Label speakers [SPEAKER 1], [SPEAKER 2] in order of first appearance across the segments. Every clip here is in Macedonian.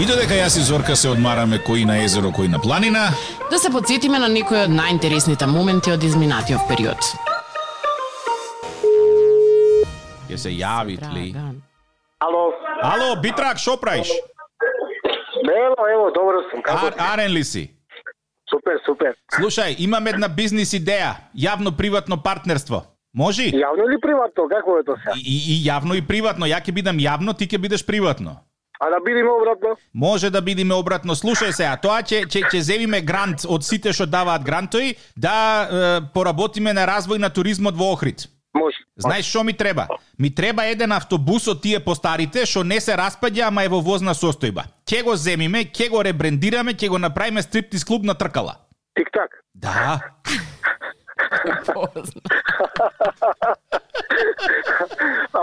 [SPEAKER 1] И додека јас и Зорка се одмараме кој на езеро, кој на планина,
[SPEAKER 2] Да се подсетиме на некои од најинтересните моменти од изминатиот период.
[SPEAKER 1] ќе се јавит ли?
[SPEAKER 2] Драган.
[SPEAKER 3] Ало,
[SPEAKER 1] Ало, Битрак, шо праиш?
[SPEAKER 3] Бело, ево, добро сум. Како?
[SPEAKER 1] Ар, арен ли си?
[SPEAKER 3] Супер, супер.
[SPEAKER 1] Слушај, имам една бизнис идеја, јавно-приватно партнерство. Може? И,
[SPEAKER 3] Јавно или приватно, како е тоа сега?
[SPEAKER 1] и, и јавно и приватно, ја ќе бидам јавно, ти ќе бидеш приватно.
[SPEAKER 3] А да бидеме обратно?
[SPEAKER 1] Може да бидеме обратно. Слушај се, а тоа ќе ќе ќе земиме грант од сите што даваат грантови да е, поработиме на развој на туризмот во Охрид.
[SPEAKER 3] Може.
[SPEAKER 1] Знаеш што ми треба? Ми треба еден автобус од тие постарите што не се распаѓа, ама е во возна состојба. Ќе го земиме, ќе го ребрендираме, ќе го направиме стриптиз клуб на тркала.
[SPEAKER 3] Тик-так.
[SPEAKER 1] Да.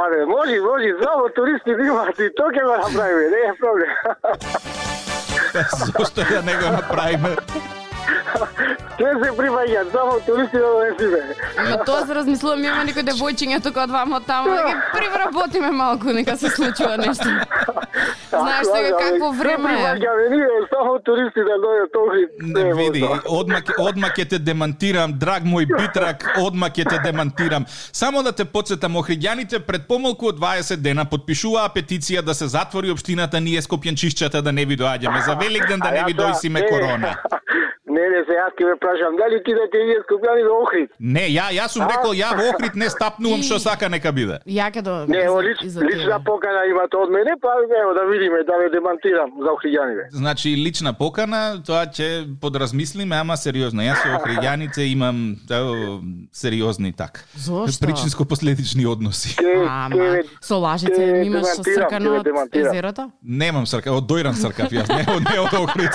[SPEAKER 3] Аде, може, може, здраво туристи ви имаат и тоа ќе го направиме, не е проблем.
[SPEAKER 1] Зошто да не го направиме?
[SPEAKER 3] Се се прифаќа, здраво туристи да не симе.
[SPEAKER 4] Ма тоа се размислувам, има некој девојчиња тука од вама од таму, да ги превработиме малку, нека се случува нешто. Знаеш сега какво време е.
[SPEAKER 3] Прифаќаме ние, само туристи да дојдат овие.
[SPEAKER 1] Не види, одма ќе- одма ќе те демантирам, драг мој Битрак, одма ќе те демантирам. Само да те подсетам, охриѓаните пред помалку од 20 дена подпишуваа петиција да се затвори општината ние Скопјанчишчата да не ви доаѓаме за Великден да не ви дојсиме корона.
[SPEAKER 3] Не, не, се јас ќе ве прашам, дали ти да ти вие скопјани до Охрид?
[SPEAKER 1] Не, ја јас сум рекол ја во Охрид не стапнувам што сака нека биде.
[SPEAKER 4] Ја ке до...
[SPEAKER 3] Не,
[SPEAKER 4] из-
[SPEAKER 3] ево, лич,
[SPEAKER 4] изотивам.
[SPEAKER 3] лична покана имате од мене, па ево да видиме, да ве демантирам за Охриѓаните.
[SPEAKER 1] Значи лична покана, тоа ќе подразмислиме, ама сериозно. Јас со охриѓаните имам ево, сериозни так.
[SPEAKER 2] Зошто?
[SPEAKER 1] Причинско последични односи.
[SPEAKER 3] Ке,
[SPEAKER 2] Ама,
[SPEAKER 3] ке,
[SPEAKER 4] Со
[SPEAKER 3] Ке
[SPEAKER 4] лажице имаш со
[SPEAKER 3] демантирам,
[SPEAKER 4] сркано
[SPEAKER 3] ке
[SPEAKER 4] од
[SPEAKER 3] демантирам.
[SPEAKER 4] езерото?
[SPEAKER 1] Немам срка, од Дојран сркав јас, не од не од Охрид.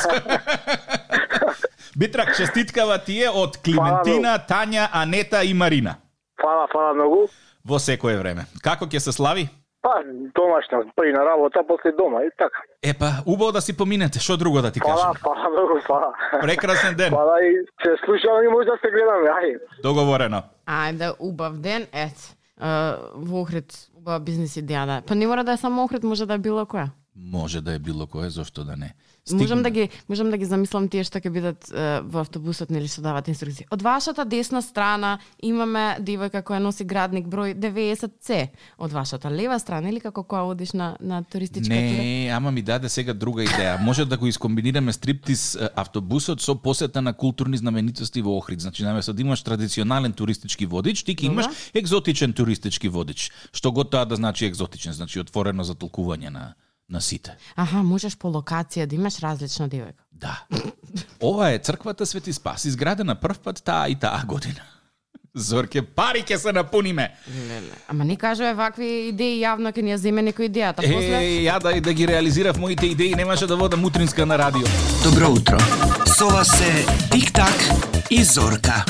[SPEAKER 1] Битрак, честиткава ти е од Климентина, Тања, Анета и Марина.
[SPEAKER 3] фала, фала многу.
[SPEAKER 1] Во секое време. Како ќе се слави?
[SPEAKER 3] Па, домашно, први на работа, после дома, и така.
[SPEAKER 1] Епа, убаво да си поминете, што друго да ти
[SPEAKER 3] Фала,
[SPEAKER 1] кажам.
[SPEAKER 3] фала, многу фала.
[SPEAKER 1] Прекрасен ден,
[SPEAKER 3] Фала и се слушаме и може да се гледаме, ајде.
[SPEAKER 1] договорено.
[SPEAKER 4] Ајде, убав ден, ет. Е, Во Охрид, убава бизнес идеја да. е. Па не мора да е само Охрид, може да е било која.
[SPEAKER 1] Може да е било кое, зошто да не.
[SPEAKER 4] Можам да ги можам да ги замислам тие што ќе бидат е, во автобусот нели што дават инструкции. Од вашата десна страна имаме девојка која носи градник број 90C. Од вашата лева страна или како која одиш на на туристичка тура?
[SPEAKER 1] Не, ама ми даде сега друга идеја. Може да го искомбинираме стриптиз е, автобусот со посета на културни знаменитости во Охрид. Значи, наместо да имаш традиционален туристички водич, ти ќе имаш екзотичен туристички водич. Што го тоа да значи екзотичен, значи отворено за толкување на на сите.
[SPEAKER 4] Аха, можеш по локација да имаш различна девојка.
[SPEAKER 1] Да. Ова е црквата Свети Спас, изградена првпат таа и таа година. Зорке, пари ќе се напуниме.
[SPEAKER 4] Леле. Ама не кажува вакви идеи јавно ќе ни ја земе некој идејата. После
[SPEAKER 1] Е, ја да, да ги реализирав моите идеи, немаше да водам утринска на радио.
[SPEAKER 5] Добро утро. Сова се Тик-так и Зорка.